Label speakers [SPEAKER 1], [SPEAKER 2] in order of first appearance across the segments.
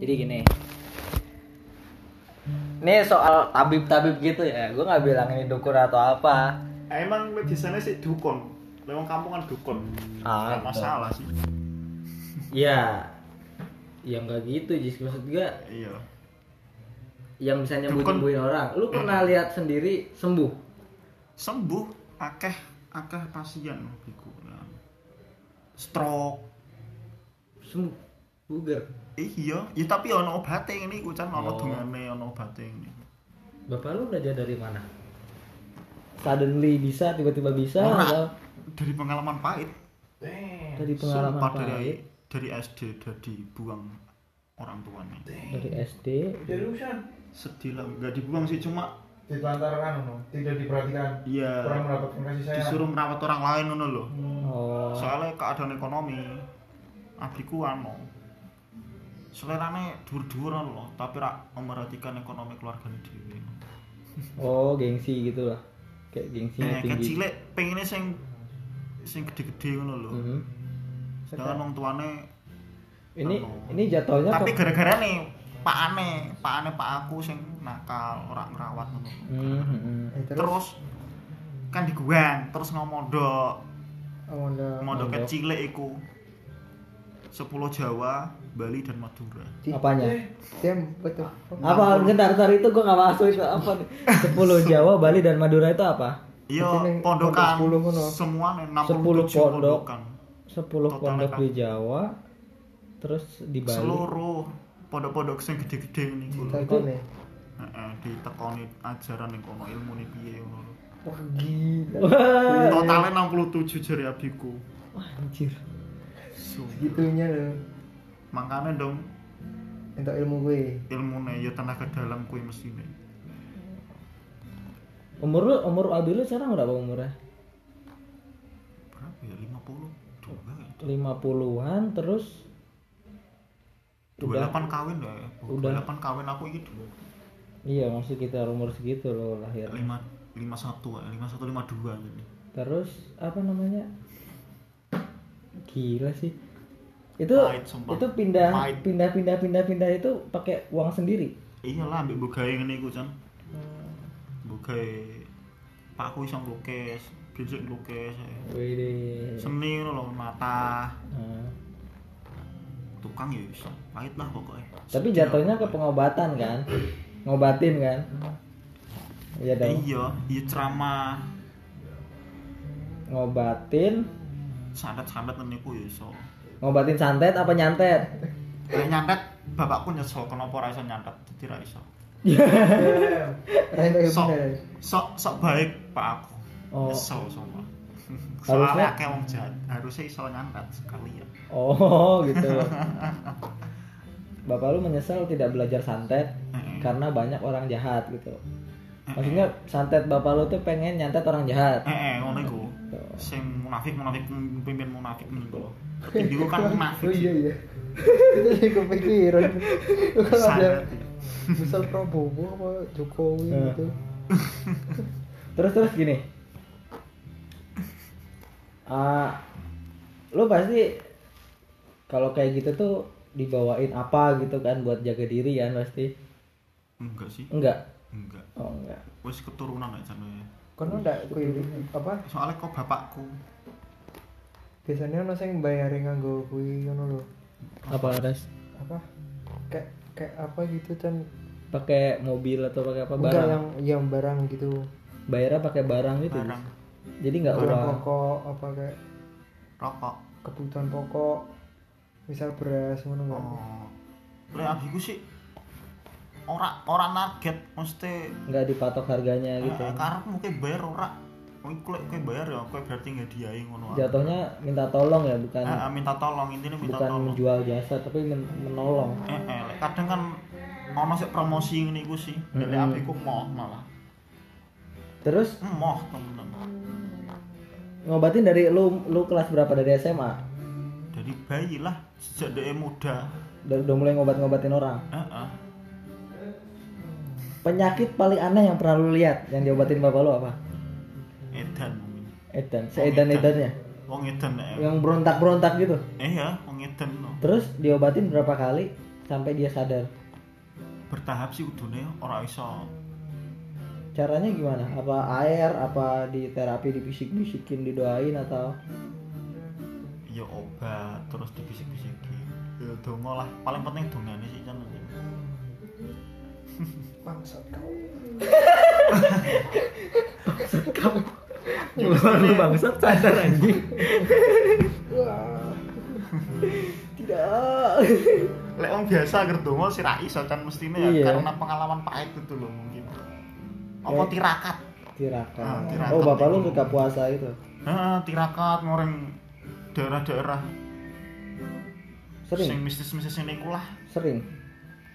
[SPEAKER 1] jadi gini ini soal tabib-tabib gitu ya gue nggak bilang ini dukun atau apa
[SPEAKER 2] Emang di sana sih dukun. Memang kampungan dukun.
[SPEAKER 1] Ah,
[SPEAKER 2] Nggak masalah sih.
[SPEAKER 1] ya yang nggak gitu jis maksud gue
[SPEAKER 2] Iya.
[SPEAKER 1] yang bisa
[SPEAKER 2] Dukun.
[SPEAKER 1] nyembuhin orang lu pernah lihat sendiri sembuh
[SPEAKER 2] Sembuh akeh akeh pasien iku. Nah. Stroke.
[SPEAKER 1] sembuh buger
[SPEAKER 2] Eh, iya, ya tapi ono obate ngene iku kan ono
[SPEAKER 1] Oh.
[SPEAKER 2] dungane ono obate ngene.
[SPEAKER 1] bapak lu belajar dari mana suddenly bisa tiba-tiba bisa
[SPEAKER 2] Ora.
[SPEAKER 1] atau
[SPEAKER 2] Dari pengalaman pahit.
[SPEAKER 1] dari pengalaman
[SPEAKER 2] Sumpah
[SPEAKER 1] pahit
[SPEAKER 2] dari dari SD udah dibuang orang tuanya.
[SPEAKER 1] dari SD
[SPEAKER 3] Jadi urusan
[SPEAKER 2] Sedih lah, nggak dibuang sih cuma
[SPEAKER 4] kan,
[SPEAKER 3] ditelantarkan, no. tidak diperhatikan, kurang
[SPEAKER 2] ya
[SPEAKER 3] mendapatkan kasih sayang.
[SPEAKER 2] disuruh merawat orang lain ngono loh.
[SPEAKER 1] oh
[SPEAKER 2] soalnya keadaan ekonomi adikku ano selerane dur-duran loh tapi rak memperhatikan ekonomi keluarganya dhewe
[SPEAKER 1] oh gengsi gitu lah kayak gengsinya
[SPEAKER 2] kayak
[SPEAKER 1] tinggi
[SPEAKER 2] Eh, kecil pengennya sing sing gede-gede ngono loh
[SPEAKER 1] Mhm.
[SPEAKER 2] sedangkan wong tuane
[SPEAKER 1] ini
[SPEAKER 2] Ano.
[SPEAKER 1] ini jatuhnya
[SPEAKER 2] tapi
[SPEAKER 1] kok-
[SPEAKER 2] gara-gara nih pak ane pak ane pak aku sing nakal orang ngerawat ngono
[SPEAKER 1] Hmm, hmm, hmm.
[SPEAKER 3] Eh,
[SPEAKER 2] terus, kan diguang terus ngomodok
[SPEAKER 3] oh, anda
[SPEAKER 2] ngomodok
[SPEAKER 1] Mondok.
[SPEAKER 2] kecil iku 10 Jawa Bali dan Madura
[SPEAKER 1] Apanya?
[SPEAKER 3] Dem, betul.
[SPEAKER 1] Eh. apa bentar bentar itu gue nggak masuk itu apa nih 10 Jawa Bali dan Madura itu apa
[SPEAKER 2] Iya,
[SPEAKER 3] Maksudnya
[SPEAKER 2] pondokan.
[SPEAKER 3] pondok 10 ngono.
[SPEAKER 2] Semua nih,
[SPEAKER 1] 10 pondok.
[SPEAKER 2] 67 pondokan.
[SPEAKER 1] 10
[SPEAKER 2] Total
[SPEAKER 1] pondok
[SPEAKER 2] mereka.
[SPEAKER 1] di Jawa terus di Bali
[SPEAKER 2] Seluruh pondok-pondok sing gede-gede ini kulo.
[SPEAKER 1] Itu-
[SPEAKER 3] nih.
[SPEAKER 2] Heeh, ditekoni ajaran yang kono ilmu nih piye ngono.
[SPEAKER 3] Wah gila.
[SPEAKER 1] Wah,
[SPEAKER 2] Totalnya 67 jari abiku.
[SPEAKER 1] anjir
[SPEAKER 2] So,
[SPEAKER 3] Segitunya loh.
[SPEAKER 2] makanya dong
[SPEAKER 3] Untuk ilmu gue.
[SPEAKER 2] ilmune ya tenaga dalam kuwi mesine.
[SPEAKER 1] umur lu umur abi lu sekarang berapa umurnya
[SPEAKER 2] Berapa ya? 50. Dua.
[SPEAKER 1] 50-an terus
[SPEAKER 2] 28 kawin ya.
[SPEAKER 1] Udah.
[SPEAKER 2] 28 kawin aku iki dua.
[SPEAKER 1] iya maksud kita umur segitu loh lahir
[SPEAKER 2] 5 51 51 52 ini.
[SPEAKER 1] terus apa namanya gila sih itu
[SPEAKER 2] Pahit, sumpah.
[SPEAKER 1] itu pindah
[SPEAKER 2] Pahit.
[SPEAKER 1] pindah pindah pindah pindah itu pakai uang sendiri
[SPEAKER 2] iyalah ambil bugai ngene iku Chan
[SPEAKER 1] Hmm.
[SPEAKER 2] bugai pak aku iso nglukis bisik nglukis eh.
[SPEAKER 1] Wih,
[SPEAKER 2] seni ngono lho mata
[SPEAKER 1] Nah,
[SPEAKER 2] tukang ya iso pahit lah pokoknya
[SPEAKER 1] tapi jatuhnya ke pengobatan kan ngobatin kan iya
[SPEAKER 2] Eh,
[SPEAKER 1] dong
[SPEAKER 2] iya iya ceramah
[SPEAKER 1] ngobatin
[SPEAKER 2] santet-santet ngene iku ya iso
[SPEAKER 1] ngobatin santet apa nyantet
[SPEAKER 2] Eh, nyantet bapakku nyesel kenapa ora iso nyantet dadi ra iso
[SPEAKER 1] Eh,
[SPEAKER 3] Rain ilmu
[SPEAKER 2] sok
[SPEAKER 3] deh.
[SPEAKER 2] sok sok baik pak aku
[SPEAKER 1] Oh.
[SPEAKER 2] nyesel sama
[SPEAKER 1] Harusnya-
[SPEAKER 2] soalnya akeh wong jahat harusnya iso nyantet sekalian
[SPEAKER 1] oh gitu bapak lu menyesal tidak belajar santet karena banyak orang jahat gitu maksudnya santet bapak lu tuh pengen nyantet orang jahat
[SPEAKER 2] eh eh ngono iku sing munafik munafik pemimpin munafik meniko tapi gue kan munafik
[SPEAKER 3] Oh iya iya. Itu sih kepikiran. Lu kan ada
[SPEAKER 2] sangat
[SPEAKER 3] misal Prabowo apa Jokowi
[SPEAKER 1] Eh.
[SPEAKER 3] gitu.
[SPEAKER 1] terus terus gini Ah, lo pasti kalau kayak gitu tuh dibawain apa gitu kan buat jaga diri kan pasti
[SPEAKER 2] enggak sih
[SPEAKER 1] enggak
[SPEAKER 2] enggak
[SPEAKER 1] oh enggak
[SPEAKER 2] wis keturunan aja nih
[SPEAKER 3] Kan ndak kuwi apa
[SPEAKER 2] soalnya kok bapakku
[SPEAKER 3] biasanya ono sing bayarin nganggo kuwi ngono lho.
[SPEAKER 1] apa harus
[SPEAKER 3] Apa? Kayak kayak apa gitu kan
[SPEAKER 1] pakai mobil atau pakai apa
[SPEAKER 3] enggak
[SPEAKER 1] barang
[SPEAKER 3] yang yang barang gitu
[SPEAKER 1] bayarnya pakai barang gitu
[SPEAKER 2] barang
[SPEAKER 1] jadi nggak
[SPEAKER 3] barang
[SPEAKER 1] uang
[SPEAKER 3] pokok apa kayak
[SPEAKER 2] rokok
[SPEAKER 3] kebutuhan pokok misal beras ngono nggak?
[SPEAKER 2] oh le abiku sih ora ora target mesti
[SPEAKER 1] nggak dipatok harganya gitu
[SPEAKER 2] eh, karena mungkin bayar ora Oh, mungkin kue kue bayar ya kue berarti nggak diayi ngono ae.
[SPEAKER 1] jatuhnya minta tolong ya bukan
[SPEAKER 2] Eh, eh, minta tolong intinya minta
[SPEAKER 1] bukan
[SPEAKER 2] tolong
[SPEAKER 1] menjual jasa tapi men- menolong
[SPEAKER 2] eh, eh, le, kadang kan ono sik promosi ngene iku sih dari
[SPEAKER 1] Mm-mm.
[SPEAKER 2] abiku mau malah
[SPEAKER 1] terus
[SPEAKER 2] moh temen-temen
[SPEAKER 1] ngobatin dari lu lu kelas berapa dari SMA
[SPEAKER 2] dari bayi lah sejak dia muda
[SPEAKER 1] udah, udah mulai ngobat-ngobatin orang
[SPEAKER 2] Heeh.
[SPEAKER 1] penyakit paling aneh yang pernah lu lihat yang diobatin bapak lu apa
[SPEAKER 2] edan mungkin
[SPEAKER 1] edan seedan edannya
[SPEAKER 2] wong edan eh.
[SPEAKER 1] yang berontak berontak gitu
[SPEAKER 2] eh ya wong edan no
[SPEAKER 1] terus diobatin berapa kali sampai dia sadar
[SPEAKER 2] bertahap sih kudune ora iso
[SPEAKER 1] caranya gimana apa air apa di terapi dibisik-bisikin didoain atau
[SPEAKER 2] ya obat terus dibisik-bisiki ya dongo lah paling penting dongane sih kan
[SPEAKER 3] Bangsat kau.
[SPEAKER 1] kamu lu bangsat sadar anjing
[SPEAKER 3] Wah.
[SPEAKER 1] tidak
[SPEAKER 2] lek wong biasa agar dongo sih ra iso kan mestine ya
[SPEAKER 1] Iya.
[SPEAKER 2] karena pengalaman pahit itu loh mungkin apa
[SPEAKER 1] Kayak-
[SPEAKER 2] tirakat
[SPEAKER 1] tirakat
[SPEAKER 2] Ah, tirakat.
[SPEAKER 1] oh bapak lu buka puasa itu
[SPEAKER 2] Heeh, tirakat ngoreng daerah-daerah sing
[SPEAKER 1] sering
[SPEAKER 2] mistis-mistis ini kulah
[SPEAKER 1] sering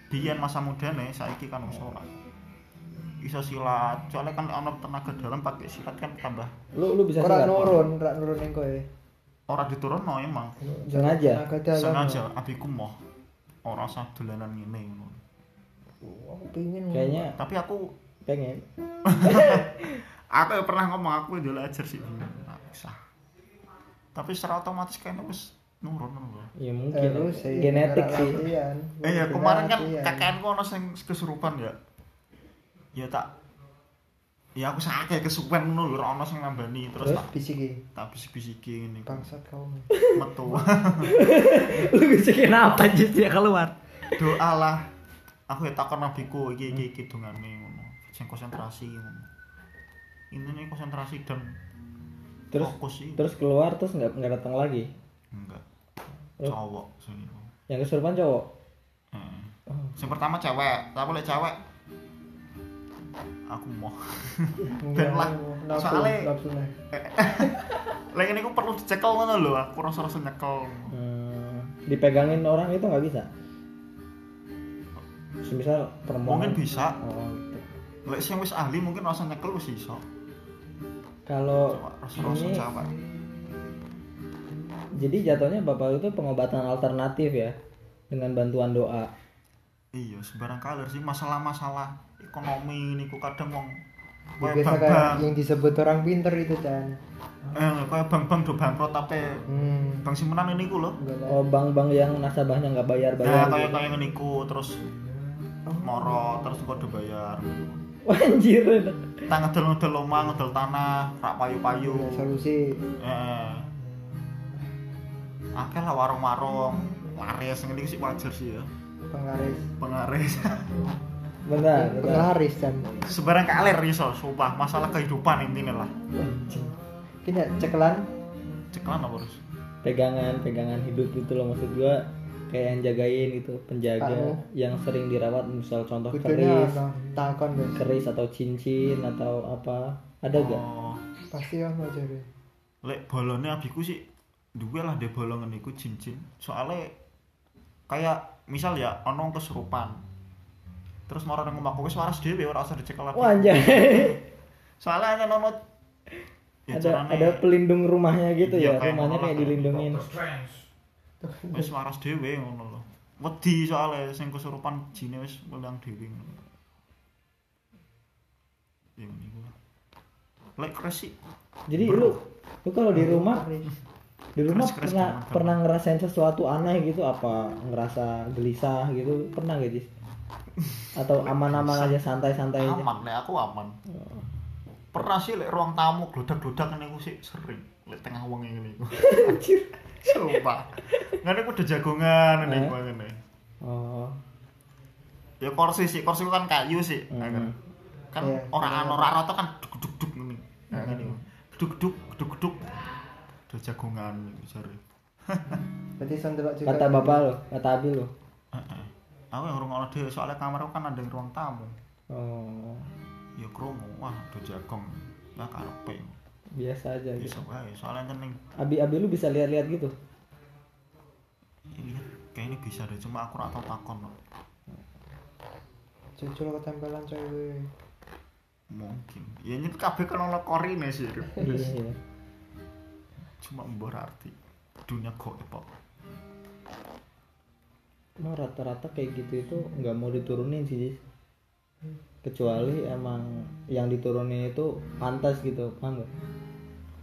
[SPEAKER 2] biyen masa mudane saiki kan wis ora iso silat soalnya kan ono tenaga dalam pakai silat kan tambah
[SPEAKER 1] lu lu bisa
[SPEAKER 3] Kok rak
[SPEAKER 1] silat, Pak?
[SPEAKER 3] nurun, rak nurun yang kowe.
[SPEAKER 2] ora diturunno emang
[SPEAKER 3] Iya,
[SPEAKER 1] Sengaja?
[SPEAKER 3] Tenaga dalam.
[SPEAKER 2] sengaja abiku moh ora usah dolanan ngene ngono.
[SPEAKER 3] Oh, Aku pingin.
[SPEAKER 1] kayaknya
[SPEAKER 2] tapi aku
[SPEAKER 1] pengen
[SPEAKER 2] aku ya pernah ngomong aku ndelok ajar sih dulu Nah, usah tapi secara otomatis kayaknya wis nurun ngono
[SPEAKER 1] ya mungkin
[SPEAKER 3] Terus iya, sih,
[SPEAKER 1] genetik
[SPEAKER 3] gara
[SPEAKER 1] sih
[SPEAKER 3] latihan.
[SPEAKER 2] Eh ya kemarin kan
[SPEAKER 3] Latihan.
[SPEAKER 2] kakekku ono sing kesurupan ya. Ya tak Ya aku sakit kesuwen ngono lho ora ono sing nambani terus
[SPEAKER 3] Terus
[SPEAKER 2] tak
[SPEAKER 3] bisiki.
[SPEAKER 2] tak bisik-bisiki ngene iku.
[SPEAKER 3] Bangsat kau.
[SPEAKER 2] metu.
[SPEAKER 1] lu bisikin apa jis dia keluar
[SPEAKER 2] Doalah. Aku ya takon nabiku iki iki iki dongane ngono. Sing konsentrasi ngono. Ini nih konsentrasi dan
[SPEAKER 1] terus
[SPEAKER 2] fokus sih.
[SPEAKER 1] terus keluar terus nggak nggak datang lagi
[SPEAKER 2] Enggak.
[SPEAKER 1] Eh.
[SPEAKER 2] Cowok sing iku.
[SPEAKER 1] yang kesurupan cowok
[SPEAKER 2] Heeh.
[SPEAKER 1] Oh.
[SPEAKER 2] Sing pertama cewek, tapi lek cewek aku mau. Ben lah.
[SPEAKER 3] Nafsu,
[SPEAKER 2] Soalnya-
[SPEAKER 3] nafsu lah.
[SPEAKER 2] Lek ini aku perlu dicekel ngono lho, aku rasa-rasa nyekel.
[SPEAKER 1] hmm, dipegangin orang itu nggak bisa semisal perempuan
[SPEAKER 2] Mungkin bisa.
[SPEAKER 1] oh, gitu.
[SPEAKER 2] Lek sing wis ahli mungkin rasa nyekel wis iso.
[SPEAKER 1] kalau
[SPEAKER 2] Coba rasa-rasa
[SPEAKER 1] ini
[SPEAKER 2] cewek.
[SPEAKER 1] jadi jatuhnya bapak lu tuh pengobatan alternatif ya dengan bantuan doa
[SPEAKER 2] Iya, sembarang kalir sih masalah-masalah ekonomi niku kadang wong
[SPEAKER 3] Ya,
[SPEAKER 2] kaya
[SPEAKER 3] Biasa kan
[SPEAKER 2] bang-bang.
[SPEAKER 3] yang disebut orang pinter itu kan.
[SPEAKER 2] Eh, kaya bang-bang do bangkrut tapi
[SPEAKER 3] Hmm.
[SPEAKER 2] bang Simenan ini ku lho.
[SPEAKER 3] Enggak lah.
[SPEAKER 1] oh bank-bank yang nasabahnya nggak bayar
[SPEAKER 2] Nah,
[SPEAKER 1] bayar
[SPEAKER 2] kaya kaya ngene iku terus moro terus kok do bayar.
[SPEAKER 1] anjir
[SPEAKER 2] Tak ngedol-ngedol omah, ngedol tanah, rak payu-payu.
[SPEAKER 3] Ya, solusi
[SPEAKER 2] Eh. Akeh lah warung-warung, laris ngene iku sih wajar sih ya.
[SPEAKER 3] penglaris.
[SPEAKER 2] Pengaris.
[SPEAKER 1] bentar, bentar.
[SPEAKER 3] Penglaris kan.
[SPEAKER 2] sembarang kalir iso, sumpah masalah kehidupan intinya lah.
[SPEAKER 3] Kita cekelan
[SPEAKER 2] Ceklan apa terus?
[SPEAKER 1] pegangan pegangan hidup gitu loh maksud gua kayak yang jagain gitu penjaga
[SPEAKER 3] Kamu.
[SPEAKER 1] yang sering dirawat misal contoh
[SPEAKER 3] kudunya
[SPEAKER 1] keris
[SPEAKER 3] apa? Takon guys.
[SPEAKER 1] keris atau cincin atau apa ada gak
[SPEAKER 2] Oh,
[SPEAKER 3] Pasti ono jare.
[SPEAKER 2] lek bolone abiku sih duwe lah de bolongan iku cincin. Soale kayak misal ya ono kesurupan. Terus marane nang omahku wis waras dhewe ora usah dicekel lagi.
[SPEAKER 1] wah anjay
[SPEAKER 2] Soale ana ono
[SPEAKER 1] ada
[SPEAKER 2] ya carane
[SPEAKER 1] ada pelindung rumahnya gitu ya,
[SPEAKER 2] Iya, kayak
[SPEAKER 1] rumahnya
[SPEAKER 2] ngono
[SPEAKER 1] kayak
[SPEAKER 2] lah.
[SPEAKER 1] dilindungin
[SPEAKER 2] wis waras dhewe ngono lho. Wedi soale sing kesurupan jine wis mulang dhewe ngono. Ya niku. lah. Lek kresik
[SPEAKER 1] jadi lu lu kalau di rumah di rumah
[SPEAKER 2] Keras-keras
[SPEAKER 1] pernah
[SPEAKER 2] gampang-gampang.
[SPEAKER 1] pernah ngerasain sesuatu aneh gitu apa ngerasa gelisah gitu pernah gak Jis? atau aman-aman aja santai-santai
[SPEAKER 3] Iya.
[SPEAKER 1] aja
[SPEAKER 2] aman lek aku aman pernah sih lek ruang tamu glodak-glodak ngene aku sih sering lek tengah wong ngene iku
[SPEAKER 1] Anjir.
[SPEAKER 2] coba ngene aku udah jagongan ngene
[SPEAKER 1] Eh.
[SPEAKER 2] iku ngene
[SPEAKER 1] oh
[SPEAKER 2] ya kursi sih kursi ku kan kayu sih
[SPEAKER 1] Mm.
[SPEAKER 2] kan kan
[SPEAKER 3] Iya.
[SPEAKER 2] orang anu ora rata kan duduk-duduk ngene Nah, ngene iku. duduk-duduk duduk-duduk udah jagongan iku jare
[SPEAKER 3] Berarti sandelok juga.
[SPEAKER 1] kata bapak lo kata abi lo
[SPEAKER 2] Heeh. aku yang ngrungokno dhewe soalnya kamar aku kan ada ruang tamu
[SPEAKER 1] oh
[SPEAKER 2] ya krungu wah udah jagong lah karepe
[SPEAKER 1] biasa aja gitu
[SPEAKER 2] iso wae soalnya kan ning
[SPEAKER 1] abi abi lu bisa lihat-lihat gitu
[SPEAKER 2] Iya, kayaknya bisa deh, cuma aku atau takon loh.
[SPEAKER 3] Cucul ketempelan cewek.
[SPEAKER 2] Mungkin. Ya nyet kabeh kan ono korine sih. Rip.
[SPEAKER 1] iya
[SPEAKER 2] Cuma mbok arti dunia kok apa.
[SPEAKER 1] Emang rata-rata kayak gitu itu nggak mau diturunin sih Jis. kecuali emang yang diturunin itu pantas gitu paham gak?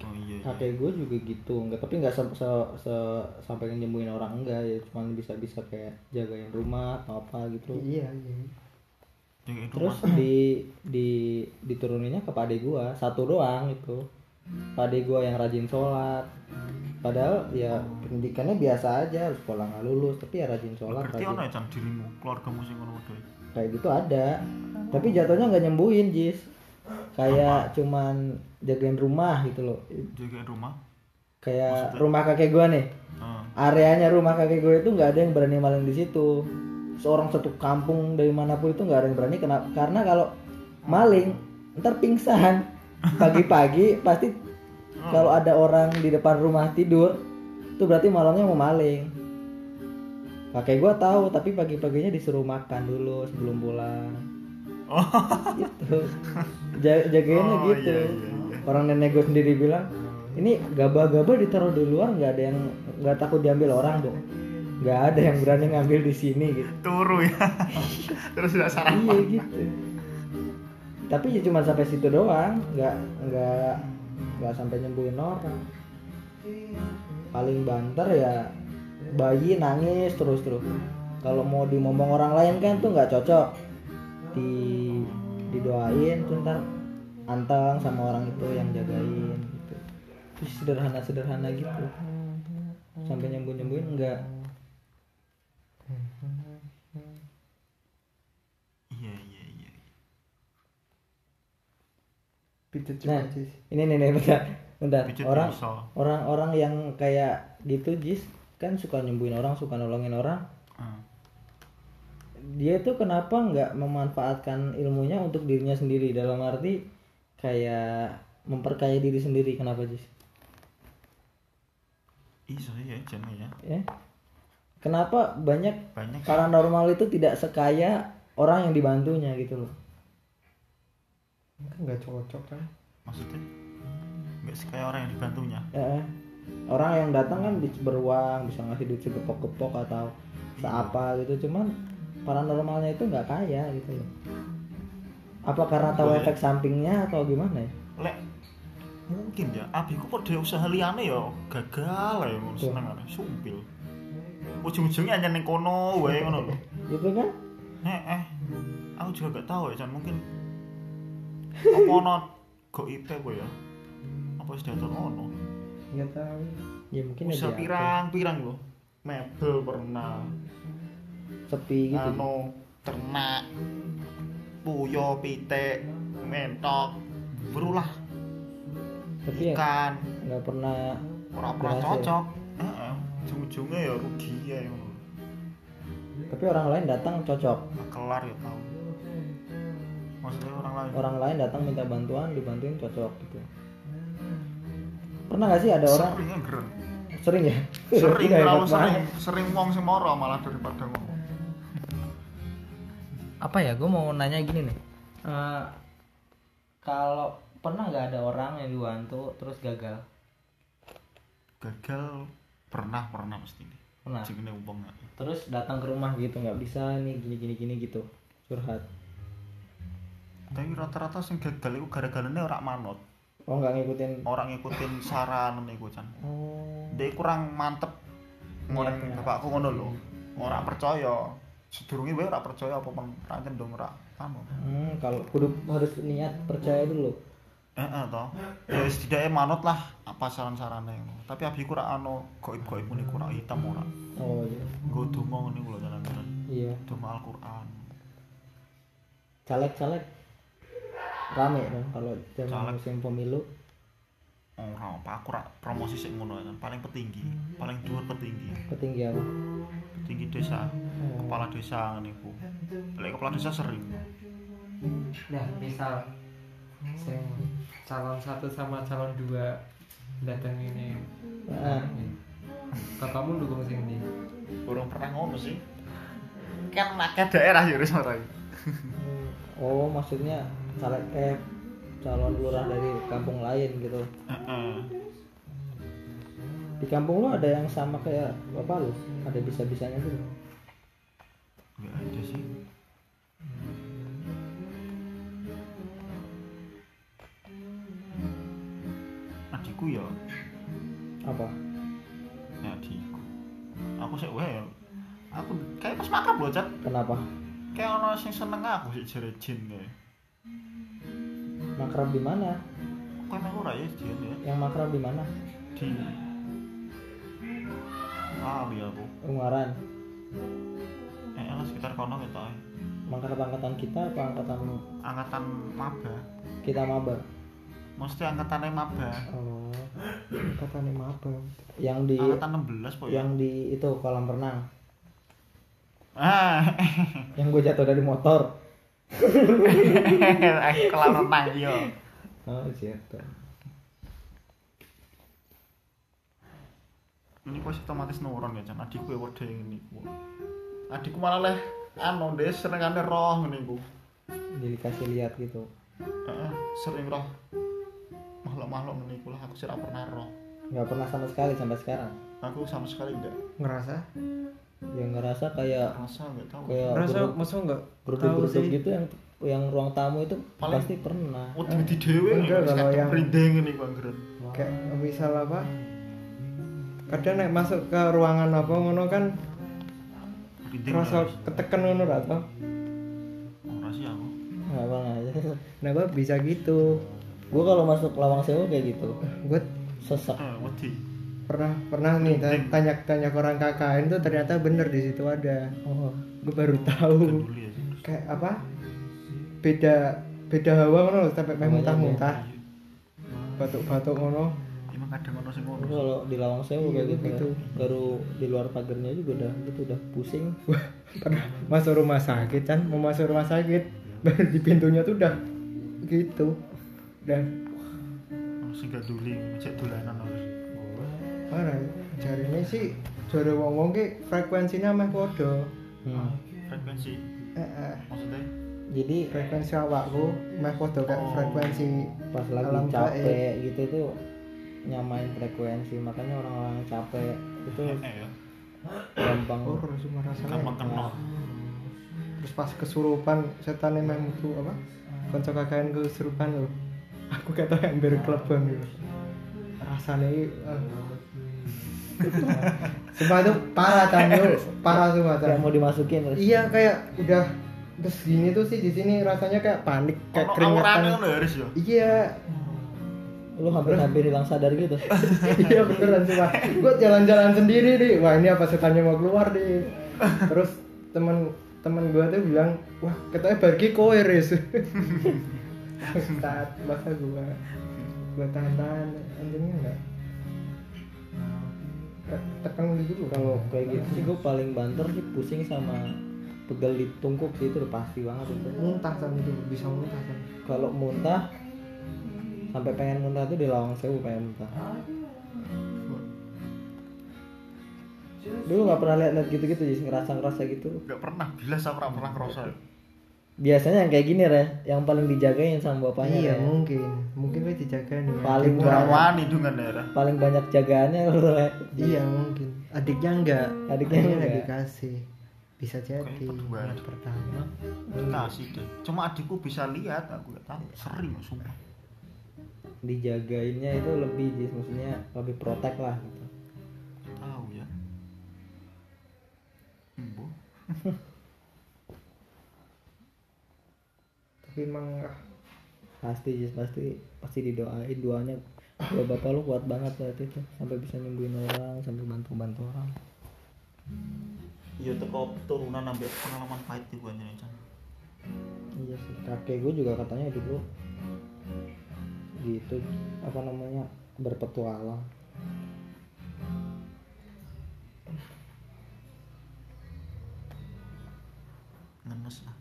[SPEAKER 2] Oh iya iya iya
[SPEAKER 1] kakek gue juga gitu enggak tapi nggak se, se- se- sampai nyembuhin orang enggak ya cuman bisa bisa kayak jagain rumah atau apa gitu
[SPEAKER 3] iya iya
[SPEAKER 2] Jagain
[SPEAKER 1] terus
[SPEAKER 2] rumah.
[SPEAKER 1] di di dituruninnya ke pade gua satu doang itu pade gua yang rajin sholat padahal ya pendidikannya biasa aja harus sekolah nggak lulus tapi ya rajin sholat
[SPEAKER 2] berarti
[SPEAKER 1] rajin
[SPEAKER 2] ono ya Chan, dirimu keluargamu sing ngono wae
[SPEAKER 1] kayak gitu ada tapi jatuhnya nggak nyembuhin jis kayak cuman jagain rumah gitu loh
[SPEAKER 2] jagain rumah
[SPEAKER 1] kayak rumah kakek gua nih
[SPEAKER 2] Heeh.
[SPEAKER 1] areanya rumah kakek gue itu nggak ada yang berani maling di situ seorang satu kampung dari manapun itu nggak ada yang berani kenapa karena kalau maling ntar pingsan pagi-pagi pasti kalau ada orang di depan rumah tidur itu berarti malamnya mau maling kakek gue tahu tapi pagi-paginya disuruh makan dulu sebelum pulang
[SPEAKER 2] oh
[SPEAKER 1] gitu Ja- jagainnya
[SPEAKER 2] Oh,
[SPEAKER 1] gitu
[SPEAKER 2] iya, iya, iya.
[SPEAKER 1] orang nenek gue sendiri bilang ini gabah-gabah ditaruh di luar nggak ada yang nggak takut diambil orang dong nggak ada yang berani ngambil di sini gitu
[SPEAKER 2] turu ya terus tidak sarapan
[SPEAKER 1] iya gitu tapi ya cuma sampai situ doang nggak nggak nggak sampai nyembuhin orang paling banter ya bayi nangis terus terus kalau mau dimomong orang lain kan tuh nggak cocok di didoain tuh ntar anteng sama orang itu yang jagain gitu terus sederhana sederhana gitu sampai nyembuhin nyembuhin enggak
[SPEAKER 2] iya iya iya
[SPEAKER 3] pijet
[SPEAKER 1] nah
[SPEAKER 3] juga sih
[SPEAKER 1] ini nih nih bentar bentar
[SPEAKER 2] Pijet
[SPEAKER 1] orang
[SPEAKER 2] bisa.
[SPEAKER 1] orang-orang yang kayak gitu jis kan suka nyembuhin orang suka nolongin orang
[SPEAKER 2] Heeh.
[SPEAKER 1] dia tuh kenapa nggak memanfaatkan ilmunya untuk dirinya sendiri dalam arti kayak memperkaya diri sendiri kenapa jis
[SPEAKER 2] iso ya Chan, ya
[SPEAKER 1] ya kenapa banyak
[SPEAKER 2] banyak
[SPEAKER 1] paranormal itu tidak sekaya orang yang dibantunya gitu loh
[SPEAKER 3] kan nggak cocok kan
[SPEAKER 2] maksudnya Hmm, nggak sekaya orang yang dibantunya
[SPEAKER 1] Eh, orang yang datang kan bisa beruang bisa ngasih duit segepok-gepok atau seapa gitu cuman paranormalnya itu nggak kaya gitu loh apa karena tahu efek sampingnya atau gimana ya
[SPEAKER 2] lek mungkin ya abiku kok dia usaha liane ya gagal lah ya ngono
[SPEAKER 1] Betul.
[SPEAKER 2] seneng ada sumpil ujung-ujungnya hanya neng kono wae ngono lho
[SPEAKER 1] gitu kan
[SPEAKER 2] eh eh aku juga gak tahu ya Chan mungkin apa ono goib apa ya apa sudah tahu ono
[SPEAKER 3] nggak tahu
[SPEAKER 1] ya mungkin ya
[SPEAKER 2] usaha
[SPEAKER 1] dia
[SPEAKER 2] pirang-pirang lho mebel pernah
[SPEAKER 1] sepi gitu
[SPEAKER 2] anu ternak puyo pitik mentok berulah
[SPEAKER 1] tapi ya
[SPEAKER 2] ikan
[SPEAKER 1] nggak pernah
[SPEAKER 2] ora pernah
[SPEAKER 1] berhasil.
[SPEAKER 2] cocok heeh ujung-ujungnya ya rugi ya ngono
[SPEAKER 1] tapi orang lain datang cocok
[SPEAKER 2] Nggak kelar ya tau maksudnya orang lain
[SPEAKER 1] orang lain datang minta bantuan dibantuin cocok gitu pernah nggak sih ada orang
[SPEAKER 2] sering ya gereng
[SPEAKER 1] sering ya
[SPEAKER 2] sering
[SPEAKER 1] Udah,
[SPEAKER 2] terlalu
[SPEAKER 1] hebat
[SPEAKER 2] sering
[SPEAKER 1] banget.
[SPEAKER 2] sering wong sing moro malah daripada wong
[SPEAKER 1] apa ya gue mau nanya gini nih Eh, kalau pernah nggak ada orang yang dibantu terus gagal
[SPEAKER 2] gagal pernah pernah mesti ini
[SPEAKER 1] pernah
[SPEAKER 2] jenenge wong ya.
[SPEAKER 1] terus datang ke rumah gitu nggak bisa nih gini gini gini gitu curhat
[SPEAKER 2] tapi rata-rata sing gagal itu gara-gara ini orang manut
[SPEAKER 1] oh nggak ngikutin
[SPEAKER 2] orang ngikutin saran niku Chan
[SPEAKER 1] oh
[SPEAKER 2] dia kurang mantep ngoreng bapakku ngono lho ora percaya sedurunge wae ora percaya apa men rancen dong ora anu
[SPEAKER 1] hmm, kalau kudu harus niat percaya dulu
[SPEAKER 2] heeh to Eh, ya wis didake manut lah apa saran-sarane ngono tapi abiku ora ono goib-goib ngene ora hitam ora
[SPEAKER 1] oh iya
[SPEAKER 2] nggo donga ngene kula jalan-jalan
[SPEAKER 1] iya
[SPEAKER 2] donga Al-Qur'an
[SPEAKER 1] caleg caleg rame dong kalau zaman
[SPEAKER 2] Caleg.
[SPEAKER 1] musim pemilu
[SPEAKER 2] ora apa aku ora promosi sik ngono ya, Chan. paling petinggi paling dhuwur petinggi
[SPEAKER 1] petinggi apa
[SPEAKER 2] petinggi desa kepala desa ngene iku lek kepala desa sering
[SPEAKER 3] nah misal sing calon satu sama calon dua datang ini
[SPEAKER 1] Ah.
[SPEAKER 3] kakakmu dukung sing ini
[SPEAKER 2] burung pernah ngono sih kan nakal daerah ya wis ora
[SPEAKER 1] oh maksudnya caleg eh calon lurah dari kampung lain gitu
[SPEAKER 2] Heeh.
[SPEAKER 1] di kampung lu ada yang sama kayak bapak lu ada bisa bisanya gitu
[SPEAKER 2] Nggak ada sih. Adikku ya wis makrab lho, Chat.
[SPEAKER 1] Kenapa?
[SPEAKER 2] Kayak ono sing seneng aku sih jare jin ya.
[SPEAKER 1] Makrab di mana?
[SPEAKER 2] Kok emang ora ya jin ya?
[SPEAKER 1] Yang makrab di mana?
[SPEAKER 2] Di Ah, iya aku.
[SPEAKER 1] Ungaran.
[SPEAKER 2] Eh, elah sekitar kono kita. eh.
[SPEAKER 1] Makrab angkatan kita apa angkatan
[SPEAKER 2] Angkatan maba.
[SPEAKER 1] kita maba?
[SPEAKER 2] Mesti angkatane maba.
[SPEAKER 1] Oh,
[SPEAKER 3] katanya maba
[SPEAKER 1] yang di
[SPEAKER 2] Angkatan 16 po ya.
[SPEAKER 1] yang di itu kolam renang.
[SPEAKER 2] Ah,
[SPEAKER 1] Yang gue jatuh dari motor.
[SPEAKER 2] eh, kelar renang yo.
[SPEAKER 1] Oh, jatuh.
[SPEAKER 2] ini kok otomatis nurun ya Jan adikku ya wadah yang ini adikku malah leh anu deh sering aneh roh ini ku
[SPEAKER 1] Jadi kasih lihat gitu.
[SPEAKER 2] Heeh, sering roh makhluk-makhluk ini ku lah aku sih ra pernah roh
[SPEAKER 1] nggak pernah sama sekali sampai sekarang.
[SPEAKER 2] aku sama sekali enggak
[SPEAKER 3] ngerasa
[SPEAKER 1] Yang ngerasa kayak
[SPEAKER 2] rasa enggak tahu
[SPEAKER 1] kayak
[SPEAKER 3] ngerasa
[SPEAKER 1] geruduk-
[SPEAKER 3] masa enggak tahu
[SPEAKER 1] geruduk-geruduk
[SPEAKER 3] sih
[SPEAKER 1] gitu yang yang ruang tamu itu
[SPEAKER 2] Paling-
[SPEAKER 1] pasti pernah.
[SPEAKER 2] Udah di dewe
[SPEAKER 3] enggak, kalau yang-
[SPEAKER 2] merinding ini bang Gret.
[SPEAKER 3] kayak misal apa kadang nek masuk ke ruangan apa ngono kan
[SPEAKER 2] Merinding
[SPEAKER 3] terasa
[SPEAKER 2] nggak?
[SPEAKER 3] ketekan ngono ra toh
[SPEAKER 2] Ora sih aku.
[SPEAKER 1] Nggak pernah.
[SPEAKER 3] nah gua bisa gitu
[SPEAKER 1] gue kalau masuk lawang sewu kayak gitu
[SPEAKER 3] gua
[SPEAKER 1] sesek.
[SPEAKER 2] Eh, wedi.
[SPEAKER 3] pernah pernah nih ta- tanya tanya ke orang KKN tuh ternyata bener di situ ada
[SPEAKER 1] Oh,
[SPEAKER 3] gue baru tahu
[SPEAKER 2] Dulu ya.
[SPEAKER 3] kayak apa beda beda hawa ngono loh, sampai pengen muntah-muntah batuk-batuk ngono
[SPEAKER 2] Iya, Emang kadang ono sing
[SPEAKER 1] Gua
[SPEAKER 2] ngono.
[SPEAKER 1] kalau di lawang sewu kayak gitu,
[SPEAKER 3] gitu.
[SPEAKER 1] ya. baru di luar pagernya juga udah gitu udah pusing.
[SPEAKER 3] pernah masuk rumah sakit kan mau masuk rumah sakit baru di pintunya tuh udah gitu dan
[SPEAKER 2] Ono sing gak duli, cek dolanan harus.
[SPEAKER 3] mana jarinya ya. sih jari wong wong ki frekuensinya mah podo Ah.
[SPEAKER 1] Hmm.
[SPEAKER 2] Frekuensi
[SPEAKER 3] eh, eh,
[SPEAKER 2] maksudnya
[SPEAKER 1] Jadi
[SPEAKER 3] frekuensi awakku meh podo kayak frekuensi
[SPEAKER 1] pas lagi
[SPEAKER 3] Alam
[SPEAKER 1] capek
[SPEAKER 3] gaib.
[SPEAKER 1] gitu tuh nyamain frekuensi makanya orang-orang yang capek itu
[SPEAKER 2] eh ya.
[SPEAKER 1] gampang
[SPEAKER 3] oh cuma rasanya
[SPEAKER 2] Gampang kenal.
[SPEAKER 3] terus pas kesurupan setan yang memutu apa konco kakaknya kesurupan loh aku kata hampir kelebon gitu rasanya uh. sumpah itu parah tanyo parah sumpah
[SPEAKER 1] kayak
[SPEAKER 3] Tan.
[SPEAKER 1] mau dimasukin terus
[SPEAKER 3] iya kayak udah terus gini tuh sih di sini rasanya kayak panik kayak
[SPEAKER 2] Ono aurane
[SPEAKER 3] keringetan
[SPEAKER 2] ngono ya Riz ya.
[SPEAKER 3] iya
[SPEAKER 1] lu hampir-hampir hilang sadar gitu
[SPEAKER 3] iya beneran sumpah gue jalan-jalan sendiri deh wah ini apa setannya mau keluar deh terus temen temen gue tuh bilang wah katanya bagi kowe res saat masa gue gue tahan-tahan anjingnya enggak Kayak tekan gitu loh
[SPEAKER 1] kalau kayak gitu sih gue paling banter sih pusing sama pegel di tungkuk sih itu udah pasti banget itu
[SPEAKER 3] muntah kan itu bisa muntah kan
[SPEAKER 1] kalau muntah sampai pengen muntah tuh di lawang sewu pengen muntah dulu nggak pernah lihat lihat gitu-gitu jadi ngerasa-ngerasa gitu
[SPEAKER 2] Enggak pernah bilas aku ora pernah ngerasa.
[SPEAKER 1] biasanya yang kayak gini re yang paling dijagain sama bapaknya
[SPEAKER 3] iya
[SPEAKER 1] Re.
[SPEAKER 3] mungkin mungkin gue dijaga nih
[SPEAKER 1] ya. Hmm. Paling
[SPEAKER 3] Adik
[SPEAKER 2] Ora
[SPEAKER 1] Barang.
[SPEAKER 2] wani dungan ya. Ra.
[SPEAKER 1] paling banyak jagaannya lu Re.
[SPEAKER 3] gua- iya mungkin adiknya enggak
[SPEAKER 1] Adiknya
[SPEAKER 3] Kayaknya
[SPEAKER 1] enggak.
[SPEAKER 3] enggak dikasih bisa jadi
[SPEAKER 2] berdua.
[SPEAKER 3] anak pertama
[SPEAKER 2] Kasih deh. Nah, Cuma adikku bisa lihat, aku gak tahu. Sering sumpah.
[SPEAKER 1] dijagainnya itu lebih Jis. maksudnya lebih protek lah gitu.
[SPEAKER 2] Gak Tahu ya. Embo.
[SPEAKER 3] tapi emang ah,
[SPEAKER 1] pasti Jis, pasti pasti didoain doanya doa bapak lu kuat banget saat itu sampai bisa nyembuhin orang sampai bantu bantu orang
[SPEAKER 2] Iya teko turunan ambek pengalaman pahit iku anjene Chan.
[SPEAKER 1] iya sih kakek gue juga katanya dulu gitu apa namanya berpetualang
[SPEAKER 2] Ngenes lah.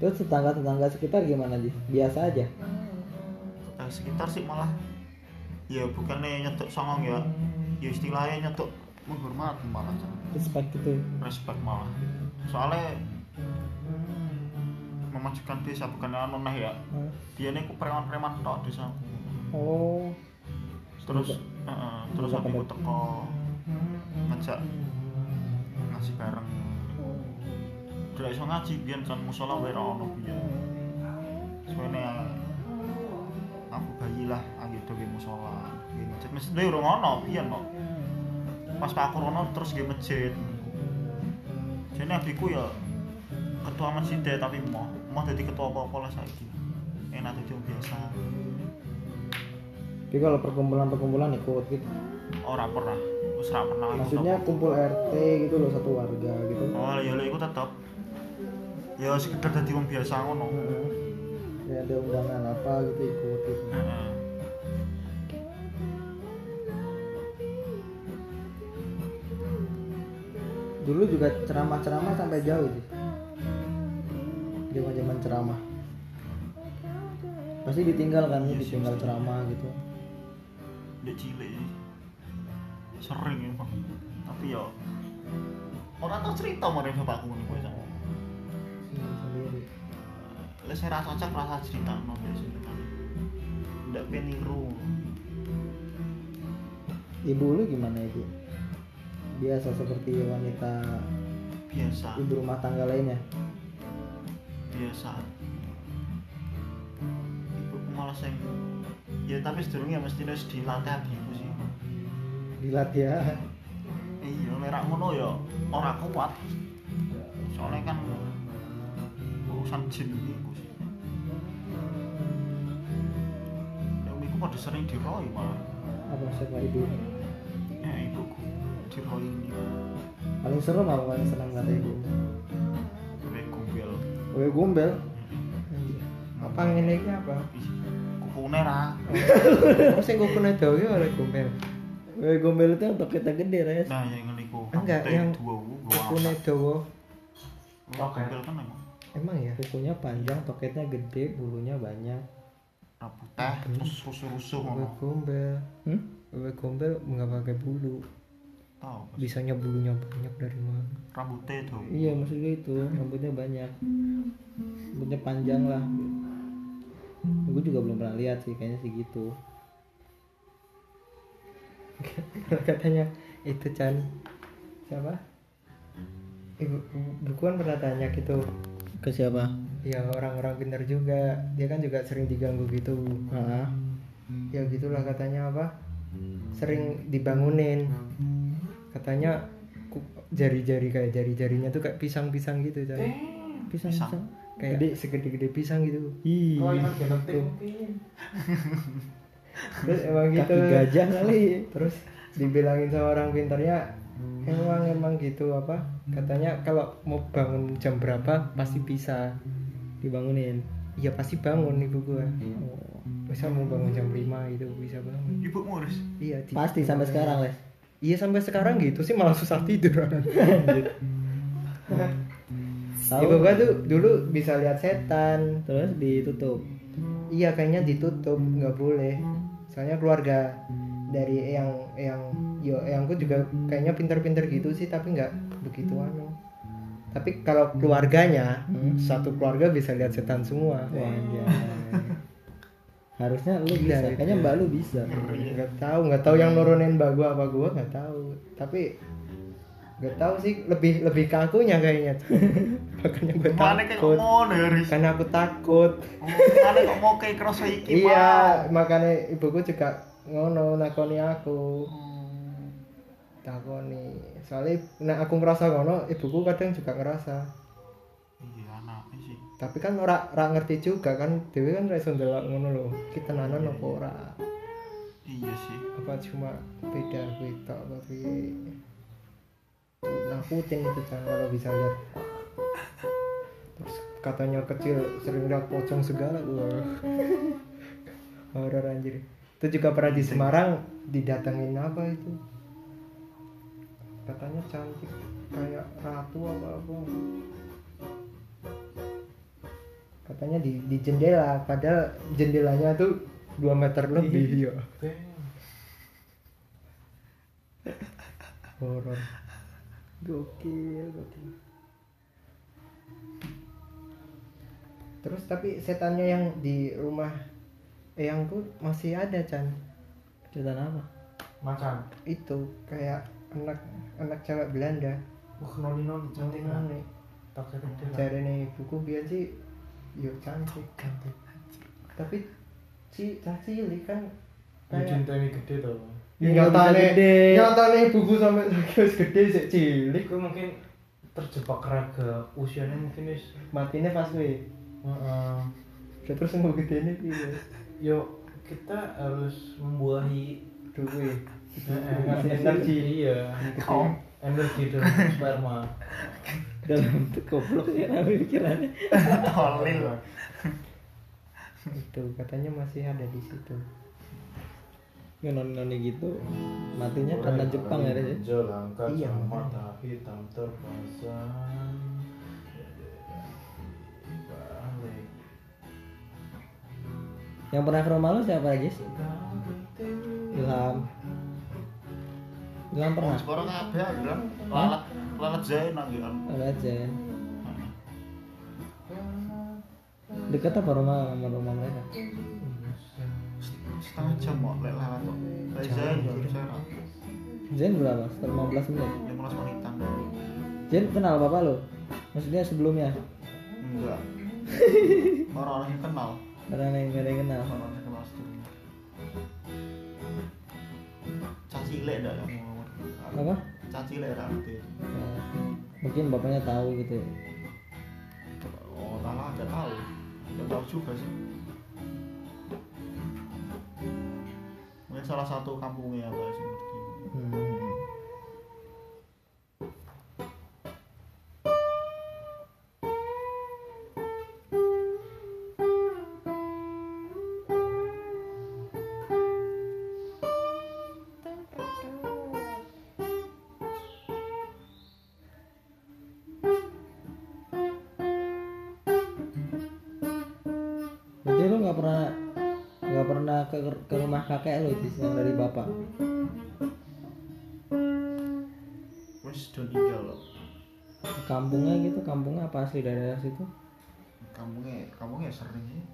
[SPEAKER 1] terus tetangga tetangga sekitar gimana Jis? biasa aja
[SPEAKER 2] Tetangga sekitar sih malah ya bukannya nyetuk songong ya. Ya istilahnya nyetuk menghormati malah Chan.
[SPEAKER 1] respect gitu ya.
[SPEAKER 2] respect malah soalnya memajukan desa bukan anu neh ya
[SPEAKER 1] Hah?
[SPEAKER 2] dia ini ku preman-preman tok desa
[SPEAKER 1] oh
[SPEAKER 2] terus heeh, terus
[SPEAKER 1] Semoga
[SPEAKER 2] aku ku
[SPEAKER 1] pada-
[SPEAKER 2] teko ngajak ngaji bareng udah iso ngaji biyen kan musola wae ra ono biyen Soalnya aku bayi lah akhir tuh game musola, game masjid. Masjid dia urung ono, iya no. Pas pak aku ono terus game masjid. Jadi abiku ya ketua masjid deh tapi mau mau jadi ketua apa apa lah saiki. Enak tuh cuma biasa.
[SPEAKER 1] Tapi kalau perkumpulan-perkumpulan ikut gitu.
[SPEAKER 2] Orang pernah, wis ra pernah. aku
[SPEAKER 1] Maksudnya
[SPEAKER 2] tau.
[SPEAKER 1] kumpul RT gitu loh satu warga gitu.
[SPEAKER 2] Oh, ya lek iku tetep. Ya sekedar dadi wong biasa ngono.
[SPEAKER 1] Heeh. Ya ada undangan apa gitu ikut gitu.
[SPEAKER 2] Heeh.
[SPEAKER 1] Dulu juga ceramah-ceramah sampai jauh sih. Zaman-zaman ceramah. Pasti ditinggal kan,
[SPEAKER 2] Iya sih,
[SPEAKER 1] ditinggal
[SPEAKER 2] pasti.
[SPEAKER 1] ceramah gitu.
[SPEAKER 2] Dek cilik sih. Sering ya, Pak. Tapi ya orang tau cerita mari bapakku ngono kuwi sama.
[SPEAKER 1] Hmm, Sendiri.
[SPEAKER 2] Lek saya rasa cocok rasa cerita ngono ya cerita. Ndak pengen niru.
[SPEAKER 1] Ibu lu gimana ibu? Biasa seperti wanita
[SPEAKER 2] Biasa,
[SPEAKER 1] ibu rumah tangga lainnya.
[SPEAKER 2] biasa. Ibu malah sing ya tapi sedurunge mesti harus dilatih adikku sih.
[SPEAKER 1] Dilatih ya.
[SPEAKER 2] iya merah ngono ya ora kuat soalnya kan urusan jin ini Gus ya iku pada sering diroi malah
[SPEAKER 1] Apa siapa ibu?
[SPEAKER 2] ya ibuku diroi ini
[SPEAKER 1] Paling serem apa paling senang kata ibu?
[SPEAKER 2] gue gombel
[SPEAKER 1] Gue gombel.
[SPEAKER 3] apa ngene iki apa
[SPEAKER 2] Ih, kupune ra
[SPEAKER 3] Wong sing kukune dawa iki oleh gombel
[SPEAKER 1] Gue gombel itu yang kita gede res.
[SPEAKER 2] nah yang ngene iku
[SPEAKER 3] Enggak,
[SPEAKER 2] Rambutnya
[SPEAKER 3] yang
[SPEAKER 2] dua wu gua
[SPEAKER 3] kukune dawa
[SPEAKER 2] Wah, gombel kan emang
[SPEAKER 3] emang ya
[SPEAKER 1] Kukunya panjang, toketnya gede, bulunya banyak.
[SPEAKER 2] rambut teh terus rusuh-rusuh
[SPEAKER 3] Wewe
[SPEAKER 2] ngono
[SPEAKER 3] gombel
[SPEAKER 1] Hmm?
[SPEAKER 3] Wewe gombel nggak pakai bulu
[SPEAKER 2] tau Gus.
[SPEAKER 3] bisanya bulunya banyak dari mana
[SPEAKER 2] rambutnya tuh
[SPEAKER 1] Iya maksud gue itu rambutnya banyak, rambutnya panjang lah. Gue juga belum pernah lihat sih kayaknya sih gitu.
[SPEAKER 3] katanya itu Chan siapa ibu bukuan pernah tanya gitu
[SPEAKER 1] Ke siapa?
[SPEAKER 3] ya orang-orang pintar juga dia kan juga sering diganggu gitu
[SPEAKER 1] Heeh.
[SPEAKER 3] ya gitulah katanya apa sering dibangunin katanya ku- jari-jari kayak jari-jarinya tuh kayak pisang-pisang gitu Chan
[SPEAKER 4] Eh,
[SPEAKER 1] Pisang pisang.
[SPEAKER 3] kayak segede-gede pisang gitu
[SPEAKER 1] Ih.
[SPEAKER 4] Oh, iya.
[SPEAKER 3] terus emang gitu
[SPEAKER 1] Kaki gajah kali.
[SPEAKER 3] terus dibilangin sama orang pintarnya
[SPEAKER 1] Hmm.
[SPEAKER 3] emang emang gitu apa katanya kalau mau bangun jam berapa pasti bisa
[SPEAKER 1] Dibangunin.
[SPEAKER 3] ya pasti bangun ibu gua
[SPEAKER 1] Oh.
[SPEAKER 3] bisa mau bangun jam 5 itu bisa bangun
[SPEAKER 2] ibu ngurus
[SPEAKER 3] iya di-
[SPEAKER 1] Pasti sampai sekarang les.
[SPEAKER 3] iya sampai sekarang gitu sih malah susah tidur ibu
[SPEAKER 1] Tahu?
[SPEAKER 3] gua tuh dulu bisa lihat setan
[SPEAKER 1] Terus ditutup.
[SPEAKER 3] iya kayaknya ditutup nggak boleh
[SPEAKER 1] Hmm.
[SPEAKER 3] soalnya keluarga dari yang yang yo eyangku juga kayaknya pinter-pinter gitu sih tapi nggak begitu
[SPEAKER 1] Hmm.
[SPEAKER 3] anu tapi kalau keluarganya satu keluarga bisa lihat setan semua
[SPEAKER 1] Wajah. Iya. Harusnya lu
[SPEAKER 3] Gila
[SPEAKER 1] bisa.
[SPEAKER 3] gitu
[SPEAKER 1] Kayaknya
[SPEAKER 3] ya.
[SPEAKER 1] mbak lu bisa. Hmm.
[SPEAKER 3] nggak tahu nggak tahu yang nurunin mbak gua apa gua nggak tahu tapi nggak tahu sih lebih lebih kakunya kayaknya makanya gua
[SPEAKER 2] mana kayak
[SPEAKER 3] takut
[SPEAKER 2] ngono ya Riz
[SPEAKER 3] karena aku takut
[SPEAKER 2] mana kok mau kayak kroso iki Pak?
[SPEAKER 3] iya makanya ibuku juga ngono nakoni aku takoni soalnya nah aku ngerasa ngono ibuku kadang juga ngerasa
[SPEAKER 2] iya anaknya sih
[SPEAKER 3] tapi kan ora ora ngerti juga kan dewi kan ra iso ndelok ngono lho kita nanan apa ora
[SPEAKER 2] iya sih
[SPEAKER 3] apa cuma beda kuwi tok apa piye nakutin itu kan kalau bisa lihat terus katanya kecil sering lihat pocong segala gua horor anjir itu juga pernah di Semarang didatengin apa itu katanya cantik kayak ratu apa apa katanya di di jendela padahal jendelanya tuh 2 meter lebih ya horor gokil gokil terus tapi setannya yang di rumah eyangku masih ada Chan
[SPEAKER 1] Setan apa?
[SPEAKER 4] macan
[SPEAKER 3] itu kayak anak anak cewek Belanda
[SPEAKER 4] wah noni noni
[SPEAKER 1] Ah.
[SPEAKER 4] cantik kan?
[SPEAKER 3] Ini
[SPEAKER 4] tak gede
[SPEAKER 3] cari nih buku biar sih yuk cantik
[SPEAKER 4] cantik
[SPEAKER 3] tapi si cah cilik kan
[SPEAKER 4] Yo
[SPEAKER 3] kayak
[SPEAKER 4] dinteni gede to.
[SPEAKER 3] Iya.
[SPEAKER 1] Ya,
[SPEAKER 3] nyatane
[SPEAKER 1] bisa gede.
[SPEAKER 3] nyatane ibuku sampai lagi wis gede sik cilik
[SPEAKER 4] Iku mungkin terjebak raga usianya mungkin wis
[SPEAKER 3] matine pas we
[SPEAKER 4] heeh.
[SPEAKER 3] Udah terus nunggu gede ini iya. piye
[SPEAKER 4] Yo kita harus membuahi
[SPEAKER 3] duwe
[SPEAKER 4] Heeh,
[SPEAKER 3] Ngasih energi.
[SPEAKER 4] Iya. Energi dari sperma.
[SPEAKER 1] dalam tuh goblok ya tapi pikirannya
[SPEAKER 2] Tolil.
[SPEAKER 1] Gitu,
[SPEAKER 3] itu katanya masih ada di situ
[SPEAKER 1] noni noni gitu matinya karena Jepang ya Res, ya?
[SPEAKER 4] Hijau langka
[SPEAKER 3] Iya,
[SPEAKER 4] mata hitam terpasang.
[SPEAKER 1] Iya,
[SPEAKER 4] Balik.
[SPEAKER 1] yang pernah ke rumah lu siapa aja sih Ilham Ilham
[SPEAKER 2] Oh,
[SPEAKER 1] pernah
[SPEAKER 2] sekarang ada bilang lalat lalat Zain lagi kan.
[SPEAKER 1] ada aja dekat apa rumah sama rumah mereka
[SPEAKER 2] Setengah jam kok lek lalat kok. Lek Zain jujur saya ra.
[SPEAKER 1] Zen berapa? Setelah 15 menit
[SPEAKER 2] 15 menitan.
[SPEAKER 1] Zen kenal bapak lo? Maksudnya sebelumnya?
[SPEAKER 2] Enggak. Orang-orang yang kenal,
[SPEAKER 1] Karena yang gak ada yang kenal
[SPEAKER 2] orang-orang yang kenal sebelumnya. Caci lek ndak yang ngomong.
[SPEAKER 1] Apa?
[SPEAKER 2] Caci lek ra ngerti.
[SPEAKER 1] Nah, mungkin bapaknya tahu gitu ya
[SPEAKER 2] Oh, salah enggak tahu. Enggak tahu juga sih. Mungkin salah satu kampungnya apa sih ngerti.
[SPEAKER 1] Hmm. Berarti lu nggak pernah nggak pernah ke, ke rumah kakek lu itu yang dari bapak.
[SPEAKER 2] Wes don tinggal loh.
[SPEAKER 1] Kampungnya gitu, kampungnya apa asli daerah situ?
[SPEAKER 2] kampungnya kampungnya sering ya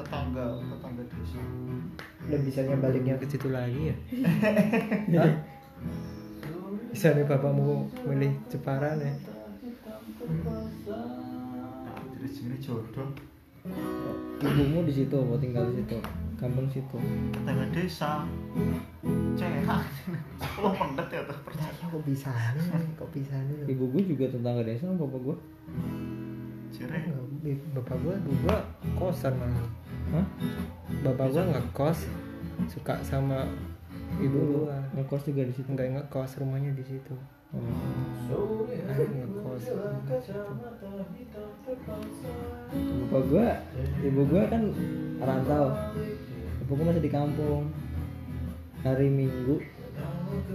[SPEAKER 2] tetangga tetangga desa
[SPEAKER 3] dan bisanya baliknya ke situ lagi ya Hah? bisa nih bapakmu milih Jepara nih
[SPEAKER 2] jadi sini jodoh
[SPEAKER 1] Ibumu di situ, mau tinggal di situ, kampung situ.
[SPEAKER 2] tetangga desa cengah lo pendet ya tuh percaya
[SPEAKER 3] ya kok bisa nih kok bisa nih
[SPEAKER 1] Ibu gue juga tetangga desa, sama bapak gue.
[SPEAKER 2] cireng
[SPEAKER 3] Nggak, bapak gua gua kosan malah
[SPEAKER 1] Hah?
[SPEAKER 3] bapak gua ngekos suka sama ibu gua
[SPEAKER 1] Ngekos juga di situ.
[SPEAKER 3] nggak ngekos rumahnya di situ
[SPEAKER 1] Oh.
[SPEAKER 3] Ayo ngekos
[SPEAKER 1] Bapak gue, ibu gue kan rantau. Bapak gue masih di kampung. Hari Minggu,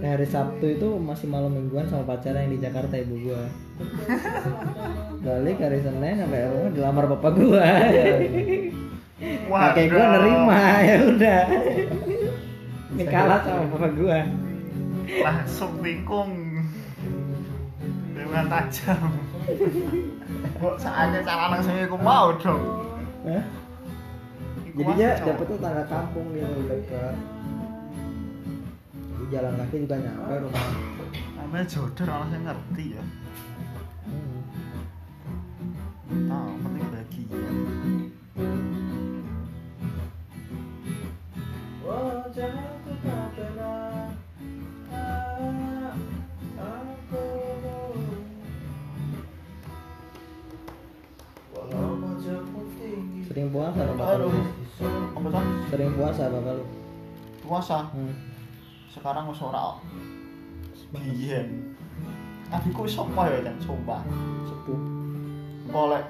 [SPEAKER 1] eh, hari Sabtu itu masih malam mingguan sama pacarnya yang di Jakarta ibu gue. Balik hari Senin sampai rumah dilamar bapak gue. Kakek gue nerima ya udah. Ini kalah sama bapak gue.
[SPEAKER 2] langsung tikung dengan tajam kok saatnya cara nang saya aku mau dong
[SPEAKER 1] Hah?
[SPEAKER 2] Iku
[SPEAKER 1] Jadinya
[SPEAKER 2] masih
[SPEAKER 1] dapet
[SPEAKER 2] cowok.
[SPEAKER 1] tuh tangga kampung gitu deket. Jadi jalan kaki juga nyampe rumah.
[SPEAKER 2] namanya jodoh orang saya ngerti ya
[SPEAKER 1] Hmm.
[SPEAKER 2] tahu penting bahagia
[SPEAKER 1] Sering puasa loh bapak lu.
[SPEAKER 2] apa tuh
[SPEAKER 1] Sering puasa bapak lu.
[SPEAKER 2] puasa
[SPEAKER 1] Hmm.
[SPEAKER 2] sekarang wis ora biyen tapi ku sapa ya kan coba
[SPEAKER 1] Sepuh.
[SPEAKER 2] engko lek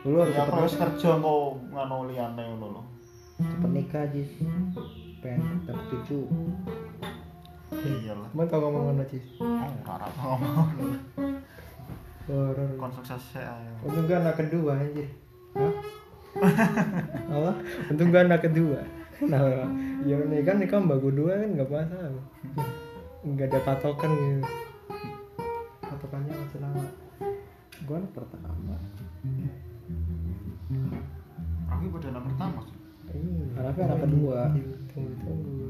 [SPEAKER 1] Dulu harus
[SPEAKER 2] ya
[SPEAKER 1] cepet,
[SPEAKER 2] aku wis kerja engko ngono liyane ngono lho
[SPEAKER 1] cepet nikah jis. Pengen dapet cucu.
[SPEAKER 2] iyalah
[SPEAKER 3] cuman kalau ngomong ngono cis
[SPEAKER 2] oh ora ora ngomong
[SPEAKER 3] horor
[SPEAKER 2] kon sukses ayo
[SPEAKER 3] untung gua anak kedua anjir
[SPEAKER 1] Hah? Apa?
[SPEAKER 3] untung gua anak kedua
[SPEAKER 1] Kenapa? Bang?
[SPEAKER 3] ya nih kan nikah mbak gua dua kan nggak masalah nggak ada patokan gitu patokannya masalah
[SPEAKER 1] Gua anak pertama.
[SPEAKER 2] aku ibu dana pertama sih.
[SPEAKER 3] Iya.
[SPEAKER 1] Harapnya anak kedua.
[SPEAKER 3] Ditunggu-tunggu.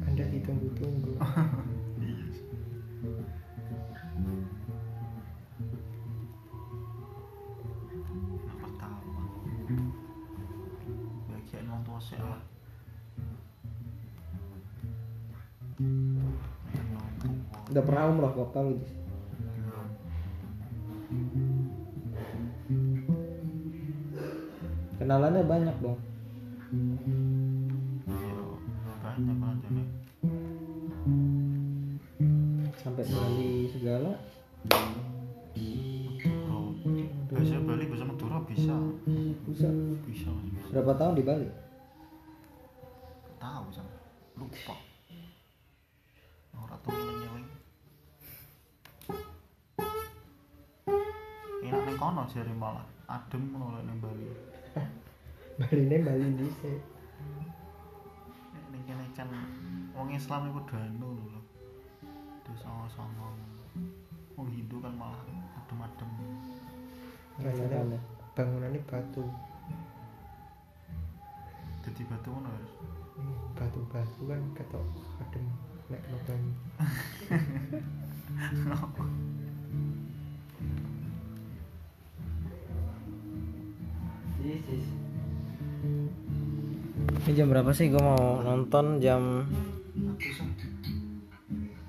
[SPEAKER 3] Anda ditunggu-tunggu.
[SPEAKER 2] iya sih. Anak pertama sih ah.
[SPEAKER 1] Udah pernah umroh kok kalau Jis. Kenalannya banyak dong.
[SPEAKER 2] Ya, banyak aja nih
[SPEAKER 1] Sampai Bali segala.
[SPEAKER 2] bro biasanya Bali bisa Madura bisa
[SPEAKER 1] Bisa
[SPEAKER 2] bisa Mas, bisa
[SPEAKER 1] berapa tahun di Bali?
[SPEAKER 2] tahu sama lupa orang tuh nyeling enak nih kono jari malah adem ngono nih Bali
[SPEAKER 3] Bali ini Bali Eh, dhisik.
[SPEAKER 2] ini kene kan wong Islam itu danu lho terus sama-sama wong Hindu kan malah adem-adem
[SPEAKER 3] Rasanya
[SPEAKER 1] Rasanya.
[SPEAKER 3] bangunannya batu,
[SPEAKER 2] jadi batu ngono ya
[SPEAKER 3] batu-batu kan ketok adem nek kena banyu.
[SPEAKER 4] Sis, sis.
[SPEAKER 1] Ini jam berapa sih? Gue mau nonton jam
[SPEAKER 2] aku sih